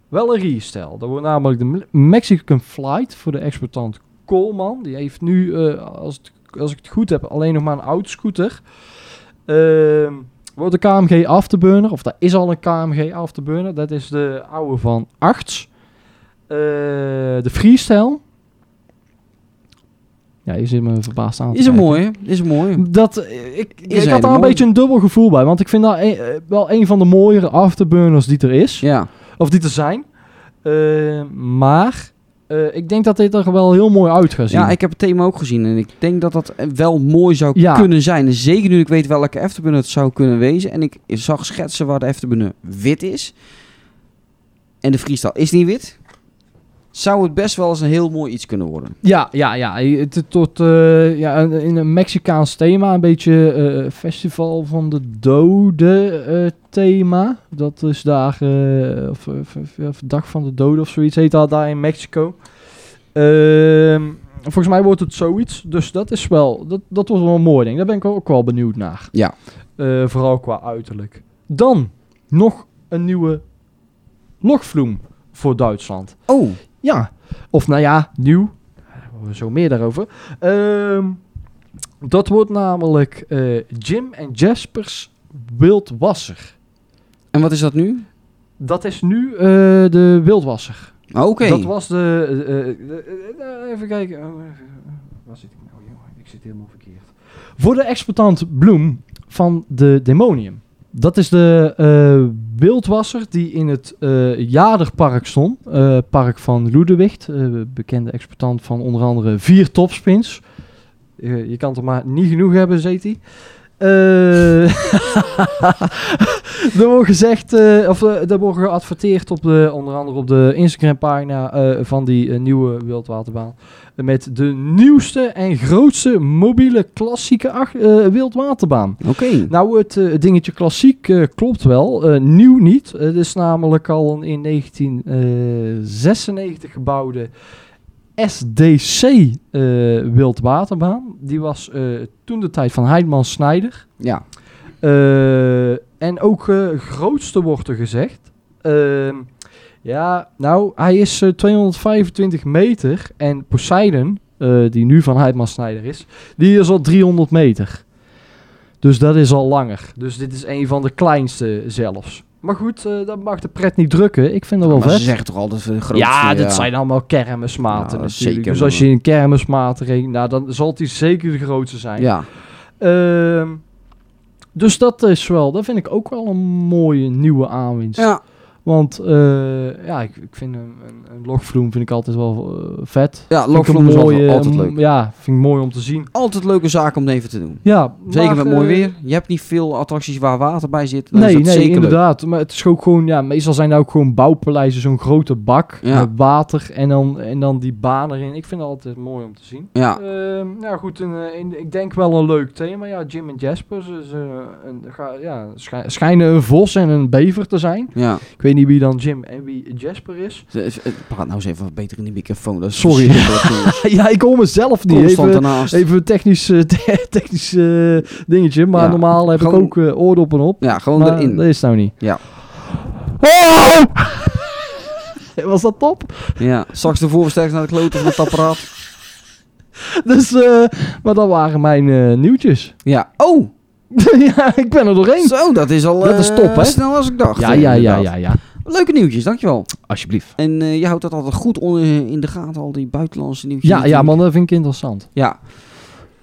S3: wel een restel. Dat wordt namelijk de Me- Mexican Flight voor de exportant Coleman. Die heeft nu, eh, als, het- als ik het goed heb, alleen nog maar een oud scooter. Ehm, wordt de KMG Afterburner, of dat is al een KMG Afterburner. Dat is de oude van Arts. Eh, de Freestyle. Ja, je zit me verbaasd aan te
S4: Is een
S3: kijken.
S4: mooie, is een mooie.
S3: Dat, eh, ik, ik
S4: een
S3: had
S4: hele
S3: daar een
S4: mooie.
S3: beetje een dubbel gevoel bij. Want ik vind dat een- eh, wel een van de mooiere afterburners die er is.
S4: Ja,
S3: Of die er zijn. Eh, maar eh, ik denk dat dit er wel heel mooi uit gaat zien.
S4: ja ik heb het thema ook gezien en ik denk dat dat eh, wel mooi zou
S3: Ja.
S4: kunnen zijn. En Zeker nu ik weet welke Efterbunner het zou kunnen wezen. En ik zag schetsen waar de Efterbunner wit is. En de freestyle is niet wit. Zou het best wel eens een heel mooi iets kunnen worden.
S3: ja, ja, ja. Het het tot eh, ja, een- in een Mexicaans thema. Een beetje eh, festival van de doden eh, thema. Dat is daar, eh, of, of- of- of dag van de doden of zoiets heet dat daar in Mexico. Ehm, volgens mij wordt het zoiets. Dus dat is wel, dat, dat wordt wel een mooi ding. Daar ben ik ook wel benieuwd naar.
S4: Ja.
S3: Eh, vooral qua uiterlijk. Dan nog een nieuwe logvloem voor Duitsland.
S4: Oh,
S3: Ja, of nou ja, nieuw. Daar hebben we Zo meer daarover. Ehm, dat wordt namelijk eh, Jim en Jaspers Wildwasser.
S4: en wat is dat nu?
S3: Dat is nu eh, de Wildwasser.
S4: Oké.
S3: Dat was de, eh, de- eh, even kijken. Oh, even, eh, waar zit ik nou, jongen? Ik zit helemaal verkeerd. Voor de exploitant Bloem van de Demonium. Dat is de eh, wildwasser die in het eh, Jaderpark stond. eh, park van Ludewicht. eh, bekende exploitant van onder andere vier topspins. Eh, je kan er maar niet genoeg hebben, zeet hij. Eh, er wordt gezegd, eh, of eh, er wordt geadverteerd op de, onder andere op de Instagram-pagina eh, van die eh, nieuwe wildwaterbaan. Met de nieuwste en grootste mobiele klassieke ach- eh, wildwaterbaan.
S4: Oké.
S3: Nou, het eh, dingetje klassiek eh, klopt wel. Eh, nieuw niet. Het is namelijk al een in 1996 gebouwde SDC eh, wildwaterbaan. Die was eh, toen de tijd van Heidman Snijder.
S4: Ja.
S3: Eh, en ook eh, grootste wordt er gezegd. Ehm, ja, nou, hij is eh, 225 meter. En Poseidon, eh, die nu van Heidman Snijder is, die is al 300 meter. Dus dat is al langer. Dus dit is een van de kleinste zelfs. Maar goed, eh, dat mag de pret niet drukken. Ik vind dat wel
S4: Maar ze
S3: vet.
S4: zeggen toch altijd eh, de grootste.
S3: Ja, dat zijn allemaal kermismaten
S4: Ja, dat is
S3: natuurlijk.
S4: zeker,
S3: dus als je
S4: man.
S3: een kermismaat rekent, nou, dan zal die zeker de grootste zijn.
S4: Ja.
S3: Ehm, dus dat is wel, dat vind ik ook wel een mooie nieuwe aanwinst.
S4: Ja.
S3: Want eh, ja, ik, ik vind een, een, een lokvloem vind ik altijd wel eh, vet.
S4: Ja,
S3: Vind ik een
S4: Lokvloem is altijd-
S3: mooie- ehm,
S4: altijd
S3: een-
S4: leuk.
S3: Ja, vind ik mooi om te zien.
S4: Altijd leuke zaak om het even te doen.
S3: Ja,
S4: Zeker
S3: maar,
S4: met mooi
S3: eh,
S4: weer. Je hebt niet veel attracties waar water bij zit. Dan is
S3: Nee,
S4: dat
S3: nee,
S4: zeker leuk.
S3: inderdaad. Maar het is ook gewoon, ja, meestal zijn er ook gewoon bouwpaleizen, zo'n grote bak
S4: Ja.
S3: met water en dan, en dan die baan erin. Ik vind het altijd mooi om te zien.
S4: Ja.
S3: Ehm, nou goed, een, eh, een- ik denk wel een leuk thema. Ja, Jim en Jasper ze, ze, een, ga- ja, schij- schijnen een vos en een bever te zijn.
S4: Ja.
S3: Ik weet niet wie dan Jim en wie Jasper is.
S4: Z- z- Praat nou eens even beter in die microfoon. Dat is
S3: Sorry.
S4: verschrikkelijk.
S3: ja, ik hoor mezelf niet.
S4: Constant
S3: Even,
S4: daarnaast.
S3: even een technisch, eh, te- technisch eh, dingetje. Maar
S4: Ja,
S3: normaal heb
S4: gewoon-
S3: ik ook eh, oordoppen op.
S4: Ja, gewoon
S3: maar
S4: erin.
S3: dat is nou niet.
S4: Ja.
S3: Oh! Was dat top?
S4: Ja. Straks de voorversterkers naar de kloten van het apparaat.
S3: Dus, eh, maar dat waren mijn eh, nieuwtjes.
S4: Ja. Oh!
S3: ja, ik ben er doorheen.
S4: Zo, dat is al
S3: Dat
S4: eh,
S3: is top, hè?
S4: snel als ik dacht.
S3: Ja,
S4: eh,
S3: ja, ja,
S4: inderdaad.
S3: ja, ja.
S4: Leuke nieuwtjes, dankjewel.
S3: Alsjeblieft.
S4: En eh, je houdt dat altijd goed on- in de gaten, al die buitenlandse nieuwtjes.
S3: Ja, ja,
S4: natuurlijk.
S3: man, dat vind ik interessant.
S4: Ja.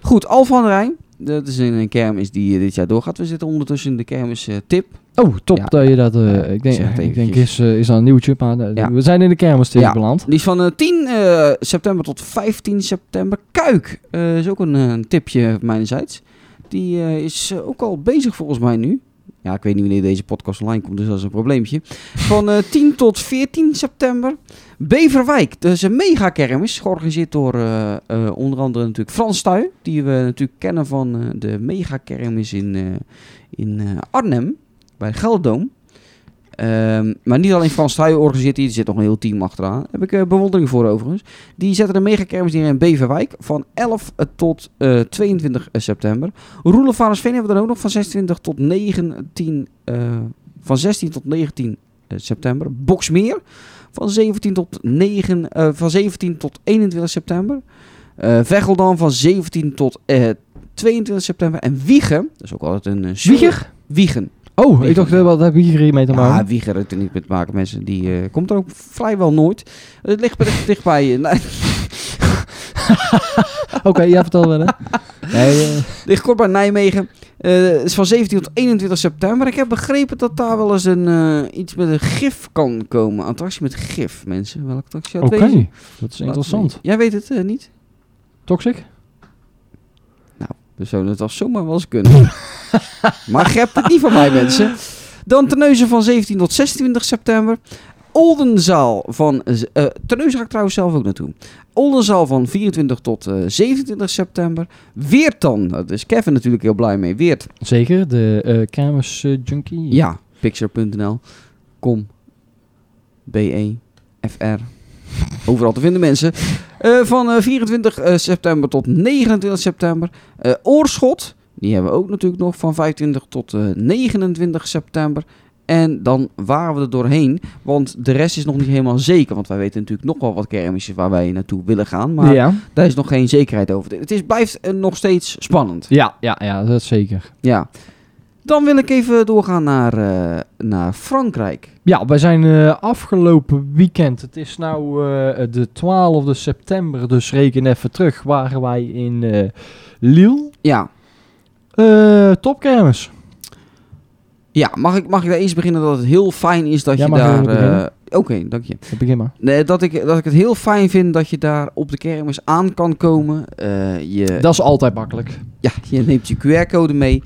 S4: Goed, Al van Rijn. Dat is een een kermis die eh, dit jaar doorgaat. We zitten ondertussen in de kermis eh, tip.
S3: Oh, top
S4: Ja,
S3: dat je dat... eh, ik denk,
S4: zeg het
S3: ik
S4: eventjes.
S3: denk is, eh, is dat een nieuwtje, maar eh,
S4: Ja.
S3: we zijn in de kermis
S4: Ja.
S3: beland.
S4: Die is van eh, 10 eh, september tot 15 september. Kuik eh, is ook een, eh, een tipje mijnerzijds. Die eh, is eh, ook al bezig volgens mij nu. Ja, ik weet niet wanneer deze podcast online komt, dus dat is een probleempje. Van eh, 10 tot 14 september. Beverwijk, dat is een mega kermis. Georganiseerd door eh, eh, onder andere natuurlijk Frans Tuy. Die we natuurlijk kennen van eh, de mega kermis in, eh, in eh, Arnhem. Bij Gelderdoom. Ehm, maar niet alleen Frans Thuij organiseert die, er zit nog een heel team achteraan. Daar heb ik eh, bewondering voor overigens. Die zetten de megakermis neer in Beverwijk van 11 tot eh, 22 september. Roelof Varensveen hebben we dan ook nog van 26 tot 19, eh, van 16 tot 19 eh, september. Boksmeer van 17 tot, 9, eh, van 17 tot 21 september. Eh Vegeldam van 17 tot eh, 22 september. En Wiegen, dat is ook altijd een... eh, zure-
S3: Wieger?
S4: Wiegen.
S3: Oh,
S4: Nee,
S3: ik dacht,
S4: nee.
S3: eh, wat heb je hier mee te
S4: Ja,
S3: maken?
S4: Wieger Ah, heeft er niet mee te maken, mensen. Die eh, komt er ook vrijwel nooit. Het ligt best dichtbij je. Nou,
S3: Oké, jij vertelt wel, hè? Nee, eh,
S4: ligt kort bij Nijmegen. Eh, Het is van 17 tot 21 september. Ik heb begrepen dat daar wel eens een, eh, iets met een gif kan komen. Attractie met gif, mensen. Welke attractie had
S3: Oké,
S4: wezen?
S3: dat is
S4: Laat
S3: interessant.
S4: weten. Jij weet het eh, niet?
S3: Toxic?
S4: We zouden het al zomaar wel eens kunnen. maar gep het niet van mij, mensen. Dan Terneuzen van 17 tot 26 september. Oldenzaal van... eh eh, Terneuzen ga ik trouwens zelf ook naartoe. Oldenzaal van 24 tot eh, 27 september. Weert dan. Dat is Kevin natuurlijk heel blij mee. Weert.
S3: Zeker, de eh kermis eh, junkie.
S4: Ja. Pixar.nl. Kom. BE. FR. E Overal te vinden mensen. Eh, van eh, 24 eh, september tot 29 september. Eh, Oorschot. Die hebben we ook natuurlijk nog van 25 tot eh, 29 september. En dan waren we er doorheen. Want de rest is nog niet helemaal zeker. Want wij weten natuurlijk nog wel wat kermisjes waar wij naartoe willen gaan. Maar
S3: ja.
S4: daar is nog geen zekerheid over. Het is, blijft eh, nog steeds spannend.
S3: Ja, ja, ja, dat zeker.
S4: Ja. Dan wil ik even doorgaan naar, eh, naar Frankrijk.
S3: Ja, wij zijn eh, afgelopen weekend, het is nou eh, de 12e september, dus reken even terug, waren wij in eh, Lille.
S4: Ja,
S3: Eh topkermis.
S4: ja mag, ik, mag ik daar eens beginnen dat het heel fijn is dat
S3: Ja,
S4: je
S3: mag je
S4: daar...
S3: wel beginnen?
S4: eh, Oké, dank je.
S3: Begin maar.
S4: Nee, dat, ik, dat ik het heel fijn vind dat je daar op de kermis aan kan komen. Eh, je,
S3: Dat is altijd makkelijk.
S4: ja, je neemt je QR-code mee.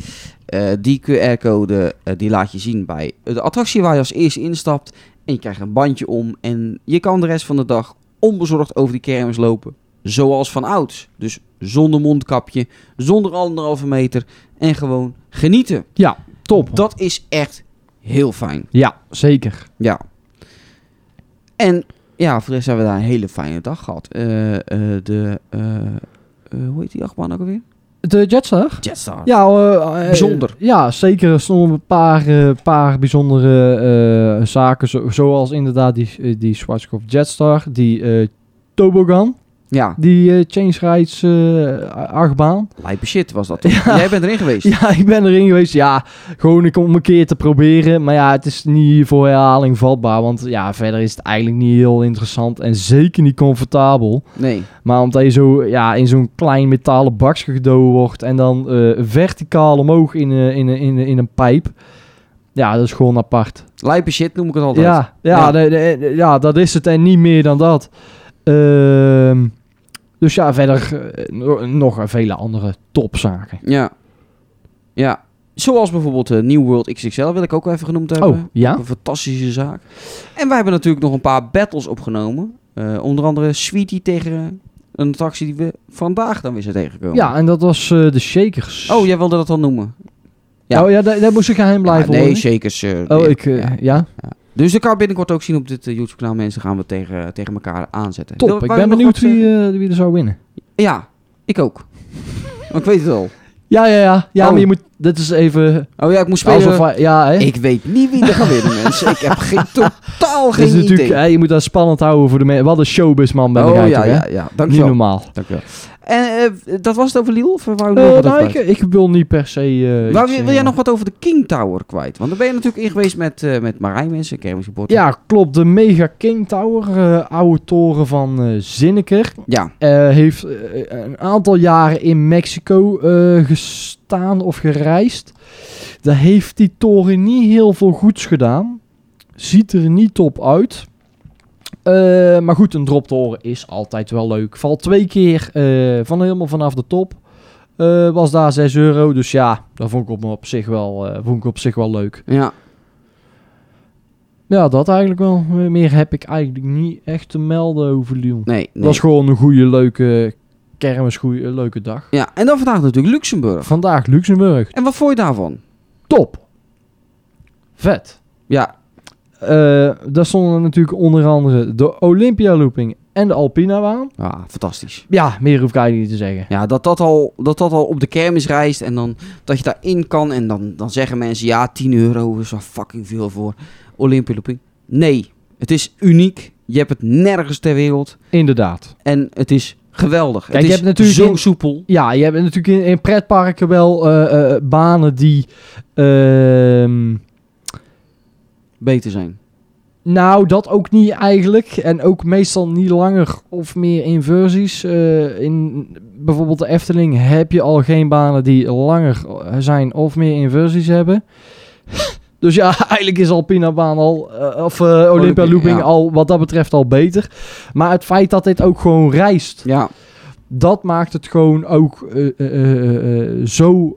S4: Eh, die QR-code eh, die laat je zien bij de attractie waar je als eerste instapt. En je krijgt een bandje om. En je kan de rest van de dag onbezorgd over die kermis lopen. Zoals van ouds. Dus zonder mondkapje, zonder anderhalve meter. En gewoon genieten.
S3: Top.
S4: Dat is echt heel fijn.
S3: ja, zeker.
S4: Ja. En ja, voor de rest hebben we daar een hele fijne dag gehad. Eh, eh, de, eh, eh, hoe heet die achtbaan ook alweer?
S3: De Jetstar?
S4: Jetstar. Ja.
S3: Ja, eh, eh,
S4: Bijzonder.
S3: Ja, zeker. Er stonden een paar, eh, paar bijzondere eh, zaken, zo- zoals inderdaad die, eh, die Schwarzkopf Jetstar, die eh Tobogan,
S4: ja,
S3: die eh Change Rides eh, achtbaan.
S4: lijpe shit was dat. toch? Jij bent erin geweest.
S3: Ja, ik ben erin geweest. Ja, gewoon ik om een keer te proberen. Maar ja, het is niet voor herhaling vatbaar. Want ja, verder is het eigenlijk niet heel interessant. En zeker niet comfortabel.
S4: Nee.
S3: Maar omdat je zo ja, in zo'n klein metalen bakje gedoken wordt. En dan eh, verticaal omhoog in, eh, in, in, in een pijp. Ja, dat is gewoon apart.
S4: Lijpe shit noem ik het altijd.
S3: Ja, ja,
S4: Ja.
S3: de- de- de- ja, dat is het en niet meer dan dat. Ehm, dus ja, verder eh, no- nog vele andere topzaken.
S4: Ja. Ja. Zoals bijvoorbeeld eh, New World XXL wil ik ook wel even genoemd hebben.
S3: Oh, ja?
S4: Ook Een fantastische zaak. En wij hebben natuurlijk nog een paar battles opgenomen. Eh, onder andere Sweetie tegen een attractie die we vandaag dan weer zijn tegengekomen.
S3: Ja, en dat was eh, de Shakers.
S4: Oh, jij wilde dat dan noemen? ja.
S3: Ja. Oh ja, daar, daar moest ik geheim
S4: Ja,
S3: blijven.
S4: nee,
S3: hoor.
S4: shakers. eh,
S3: Oh,
S4: nee.
S3: ik, eh,
S4: Ja.
S3: ja.
S4: Dus dat kan je binnenkort ook zien op dit eh, YouTube-kanaal. Mensen gaan we tegen, tegen elkaar aanzetten. Wil-
S3: Top. Ik
S4: wou je
S3: ben
S4: nog
S3: benieuwd
S4: wat
S3: wie, eh, wie er zou winnen.
S4: zeggen? Ja, ik ook. Maar ik weet het al.
S3: Ja, ja, ja. Ja,
S4: Oh.
S3: maar je moet... Dit is even...
S4: Oh ja, ik moest spelen.
S3: Alsof, hij- ja, hè.
S4: Ik weet niet wie er gaat winnen, mensen. Ik heb geen, totaal
S3: Dit is
S4: geen
S3: natuurlijk,
S4: idee.
S3: hè, je moet dat spannend houden voor de mensen. Wat een showbizman ben ik
S4: oh ja,
S3: eigenlijk, hè.
S4: ja, ja.
S3: Niet
S4: Dankjewel.
S3: normaal.
S4: Dankjewel. En eh, dat was het over Lille? Of wou je nog
S3: Eh,
S4: wat
S3: nou,
S4: over
S3: ik, ik wil niet per se... eh,
S4: Wou
S3: iets,
S4: je-
S3: eh,
S4: wil jij nog wat over de King Tower kwijt? Want daar ben je natuurlijk in geweest met, eh met Marijn mensen, Kermis Supporter.
S3: Ja, klopt. De Mega King Tower, eh, oude toren van eh Zinneker.
S4: Ja,
S3: Eh, heeft eh, een aantal jaren in Mexico eh, gestaan of gereisd. Daar heeft die toren niet heel veel goeds gedaan. Ziet er niet top uit. Eh, maar goed, een droptoren is altijd wel leuk. Valt twee keer eh, van helemaal vanaf de top. Eh, was daar 6 euro. Dus ja, dat vond ik op, op, zich wel, eh, vond ik op zich wel leuk.
S4: ja.
S3: Ja, dat eigenlijk wel. Meer heb ik eigenlijk niet echt te melden over Lyon.
S4: Nee, nee.
S3: Het was gewoon een goede, leuke kermis, goede, leuke dag.
S4: Ja, en dan vandaag natuurlijk Luxemburg.
S3: Vandaag Luxemburg.
S4: En wat vond je daarvan?
S3: Top. Vet.
S4: Ja,
S3: Eh, daar stonden natuurlijk onder andere de Olympia Looping en de Alpina aan.
S4: ah, fantastisch.
S3: Ja, meer hoef ik eigenlijk niet te zeggen.
S4: Ja, dat dat, al, dat dat al op de kermis reist en dan dat je daarin kan. En dan, dan zeggen mensen, ja, 10 euro is wel fucking veel voor Olympialooping. Nee, het is uniek. Je hebt het nergens ter wereld.
S3: Inderdaad.
S4: En het is geweldig.
S3: Kijk,
S4: het
S3: je
S4: is
S3: hebt natuurlijk
S4: zo
S3: in-
S4: soepel.
S3: Ja, je hebt natuurlijk in, in pretparken wel eh, eh, banen die... ehm,
S4: Beter zijn.
S3: Nou, dat ook niet eigenlijk. En ook meestal niet langer of meer inversies. Eh, in bijvoorbeeld de Efteling heb je al geen banen die langer eh, zijn of meer inversies hebben. Dus ja, eigenlijk is Alpina baan al, eh, of eh, Olympia Looping
S4: ja.
S3: al wat dat betreft al beter. Maar het feit dat dit ook gewoon reist,
S4: Ja,
S3: dat maakt het gewoon ook eh, eh, eh, eh, zo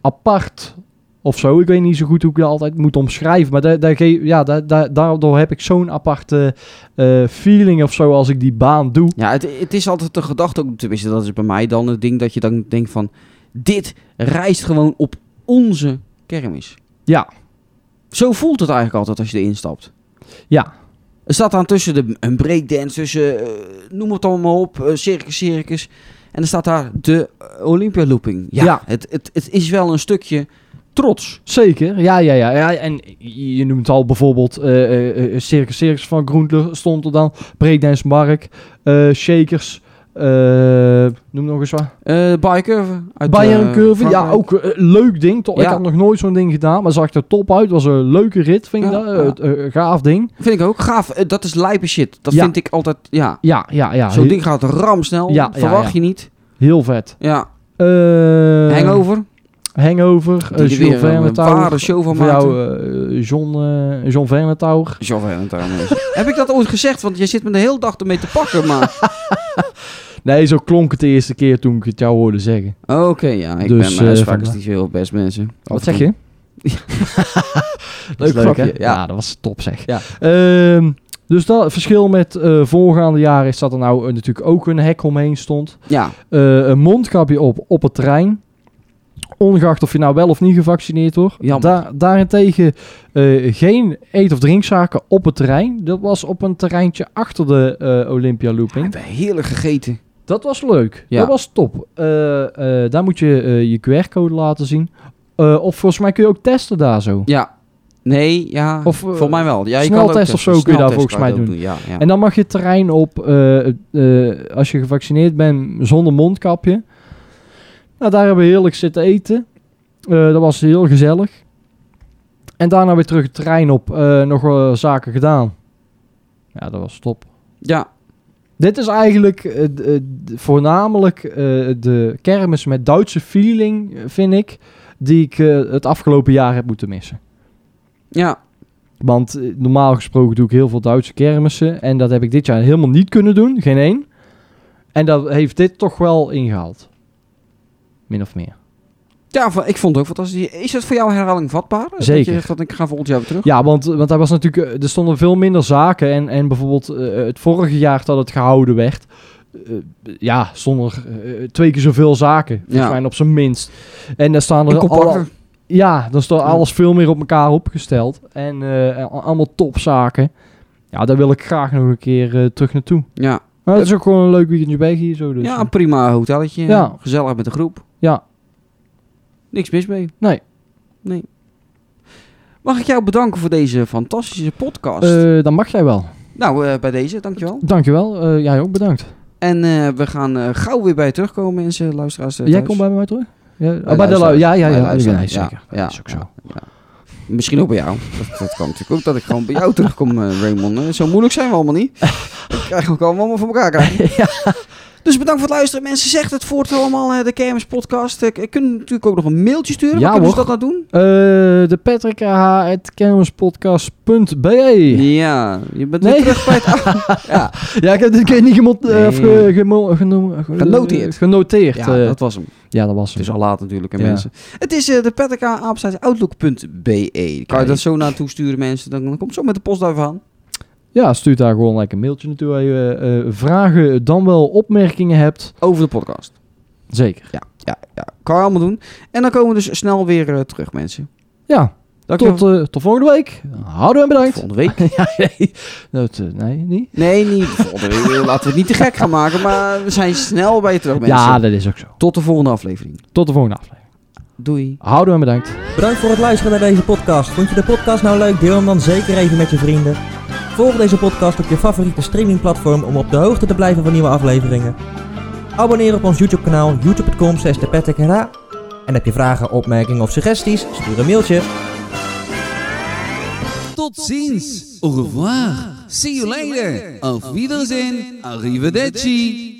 S3: apart of zo. Ik weet niet zo goed hoe ik dat altijd moet omschrijven. Maar daar, daar, ge- ja, daar, daar, daardoor heb ik zo'n aparte eh, feeling of zo als ik die baan doe.
S4: ja het, het is altijd de gedachte, ook tenminste dat is bij mij dan het ding dat je dan denkt van... Dit reist gewoon op onze kermis.
S3: Ja,
S4: Zo voelt het eigenlijk altijd als je erin stapt.
S3: ja.
S4: Er staat dan tussen de, een breakdance, tussen eh, noem het allemaal op, eh, circus, circus. En er staat daar de Olympia Looping. Ja,
S3: Ja.
S4: Het, het, het is wel een stukje trots.
S3: Zeker, ja, ja, ja, ja. En je noemt al bijvoorbeeld eh, eh, eh, Circus Circus van Groentler stond er dan. Breakdance Mark, eh, Shakers, Eh, noem nog eens wat.
S4: Eh Bayer Curve. uit,
S3: Bayern
S4: eh,
S3: Curve. Ja,
S4: Frankrijk.
S3: ook eh, leuk ding. Toch? Ik
S4: Ja.
S3: had nog nooit zo'n ding gedaan, maar zag er top uit. Was een leuke rit, vind ik
S4: Ja,
S3: dat. Eh, eh, gaaf ding.
S4: Vind ik ook gaaf. Eh, dat is lijpe shit. Dat
S3: Ja.
S4: vind ik altijd, ja.
S3: Ja, ja, ja.
S4: Zo'n
S3: he-
S4: ding gaat ramsnel.
S3: Ja, ja,
S4: Verwacht
S3: ja.
S4: je niet.
S3: Heel vet.
S4: Ja.
S3: Eh,
S4: Hangover.
S3: Hangover. eh,
S4: Die er
S3: Jules
S4: weer
S3: Verne
S4: een ware show van
S3: Voor
S4: maakte.
S3: jou, eh, John, eh John Vernetouwer.
S4: John Van Tarnus. Heb ik dat ooit gezegd? Want je zit me de hele dag ermee te pakken, maar...
S3: Nee, zo klonk het de eerste keer toen ik het jou hoorde zeggen.
S4: Oké, ja. Ik
S3: Dus,
S4: ben
S3: eh,
S4: mijn
S3: vandaar.
S4: niet zo heel best, mensen.
S3: Wat zeg je?
S4: Leuk grapje,
S3: hè?
S4: ja.
S3: dat was top zeg.
S4: Ja.
S3: Ehm, dus dat verschil met eh, voorgaande jaren is dat er nou eh, natuurlijk ook een hek omheen stond.
S4: Ja.
S3: Eh, een mondkapje op op het terrein. Ongeacht of je nou wel of niet gevaccineerd wordt.
S4: Jammer.
S3: Da- daarentegen eh, geen eet- of drinkzaken op het terrein. Dat was op een terreintje achter de eh Olympia
S4: We
S3: Looping.
S4: hebben heerlijk gegeten.
S3: Dat was leuk.
S4: Ja.
S3: Dat was top. Eh, eh, daar moet je eh, je QR-code laten zien. Eh, of volgens mij kun je ook testen daar zo.
S4: Ja. Nee, ja.
S3: Of, eh,
S4: volgens mij wel. Ja, je
S3: sneltest
S4: kan ook
S3: of
S4: testen.
S3: zo kun je daar
S4: Sneltest
S3: volgens
S4: kan je
S3: mij
S4: ook
S3: doen.
S4: Ja, ja.
S3: En dan mag je het terrein op eh, eh, als je gevaccineerd bent zonder mondkapje. Nou, daar hebben we heerlijk zitten eten. Eh, dat was heel gezellig. En daarna weer terug het terrein op. eh, nog wel zaken gedaan. Ja, dat was top.
S4: ja.
S3: Dit is eigenlijk eh, d- eh, d- voornamelijk eh, de kermis met Duitse feeling, eh, vind ik. Die ik eh, het afgelopen jaar heb moeten missen.
S4: Ja.
S3: Want eh, normaal gesproken doe ik heel veel Duitse kermissen. En dat heb ik dit jaar helemaal niet kunnen doen. Geen één. En dat heeft dit toch wel ingehaald. Min of meer.
S4: Ja, van- ik vond het ook fantastisch. Is het voor jou herhaling vatbaar? Dat
S3: Zeker.
S4: je zegt, dat ik ga volgend jaar weer terug?
S3: Ja, want, want daar was natuurlijk, eh, er stonden veel minder zaken. En, en bijvoorbeeld eh, het vorige jaar dat het gehouden werd. eh, ja, stonden er eh, twee keer zoveel zaken. Volgens
S4: Ja.
S3: mij op zijn minst. En daar staan
S4: En
S3: er
S4: compacter.
S3: alle, Ja, dan staat
S4: Ja.
S3: alles veel meer op elkaar opgesteld. En eh, a- allemaal topzaken. Ja, daar wil ik graag nog een keer eh, terug naartoe.
S4: Ja.
S3: Maar het is ook gewoon een leuk weekendje weg hier zo. Dus.
S4: ja, een prima hotelletje.
S3: Ja.
S4: Gezellig met de groep.
S3: Ja.
S4: Niks mis mee.
S3: Nee.
S4: Nee. Mag ik jou bedanken voor deze fantastische podcast?
S3: Eh, dan mag jij wel.
S4: nou, eh, bij deze, dankjewel.
S3: Dankjewel. Eh jij ook bedankt.
S4: En eh, we gaan eh, gauw weer bij je terugkomen, mensen, luisteraars. eh,
S3: jij
S4: thuis.
S3: komt bij mij terug? Ja, oh, bij
S4: luisteraars.
S3: de lu- ja, ja,
S4: Bij
S3: ja. ja,
S4: luisteraars,
S3: nee,
S4: ja.
S3: zeker.
S4: Ja.
S3: Dat is ook zo.
S4: Misschien ook bij jou. Dat, dat kan natuurlijk ook, dat ik gewoon bij jou terugkom, eh, Raymond. Eh, Zo moeilijk zijn we allemaal niet. Dat krijgen we ook allemaal voor elkaar. krijgen. Dus bedankt voor het luisteren. Mensen, zegt het voort allemaal, eh, de Kermis podcast. Eh, k- kunnen natuurlijk ook nog een mailtje sturen.
S3: Ja,
S4: Waar kunnen ze
S3: hoor.
S4: dat nou doen?
S3: Eh, de Patrick kermispodcast.be.
S4: Ja, je bent
S3: Nee.
S4: weer terug bij het oude. ja,
S3: Ja, ik heb dit keer niet gemot, eh, of,
S4: Nee.
S3: eh, gemo- geno- ge-
S4: Genoteerd.
S3: Genoteerd. eh.
S4: ja, dat was hem.
S3: ja, dat was
S4: Het
S3: hem.
S4: is al laat natuurlijk, hè,
S3: Ja.
S4: mensen. Het is eh, de petterka-outlook.be. E. Kan je dat zo naartoe sturen, mensen? Dan, dan komt zo met de postduif aan.
S3: Ja, stuur daar gewoon lekker een mailtje naartoe. Als je eh, vragen dan wel opmerkingen hebt.
S4: Over de podcast.
S3: Zeker.
S4: Ja, ja, ja. Kan je allemaal doen. En dan komen we dus snel weer eh, terug, mensen.
S3: Ja,
S4: Dankjewel.
S3: tot, eh, tot volgende week. Houden en bedankt.
S4: Volgende week.
S3: ja, nee. Dat, eh, nee, niet.
S4: Nee, niet volgende week. Laten we het niet te gek gaan maken, maar we zijn snel bij je terug, mensen.
S3: Ja, dat is ook zo.
S4: Tot de volgende aflevering.
S3: Tot de volgende aflevering.
S4: Doei.
S3: Houden en bedankt.
S2: Bedankt voor het luisteren naar deze podcast. Vond je de podcast nou leuk? Deel hem dan zeker even met je vrienden. Volg deze podcast op je favoriete streamingplatform om op de hoogte te blijven van nieuwe afleveringen. Abonneer op ons YouTube kanaal youtube.com slash En heb je vragen, opmerkingen of suggesties? Stuur een mailtje.
S5: Tot ziens. Au revoir. See you later. Auf Wiedersehen. Arrivederci.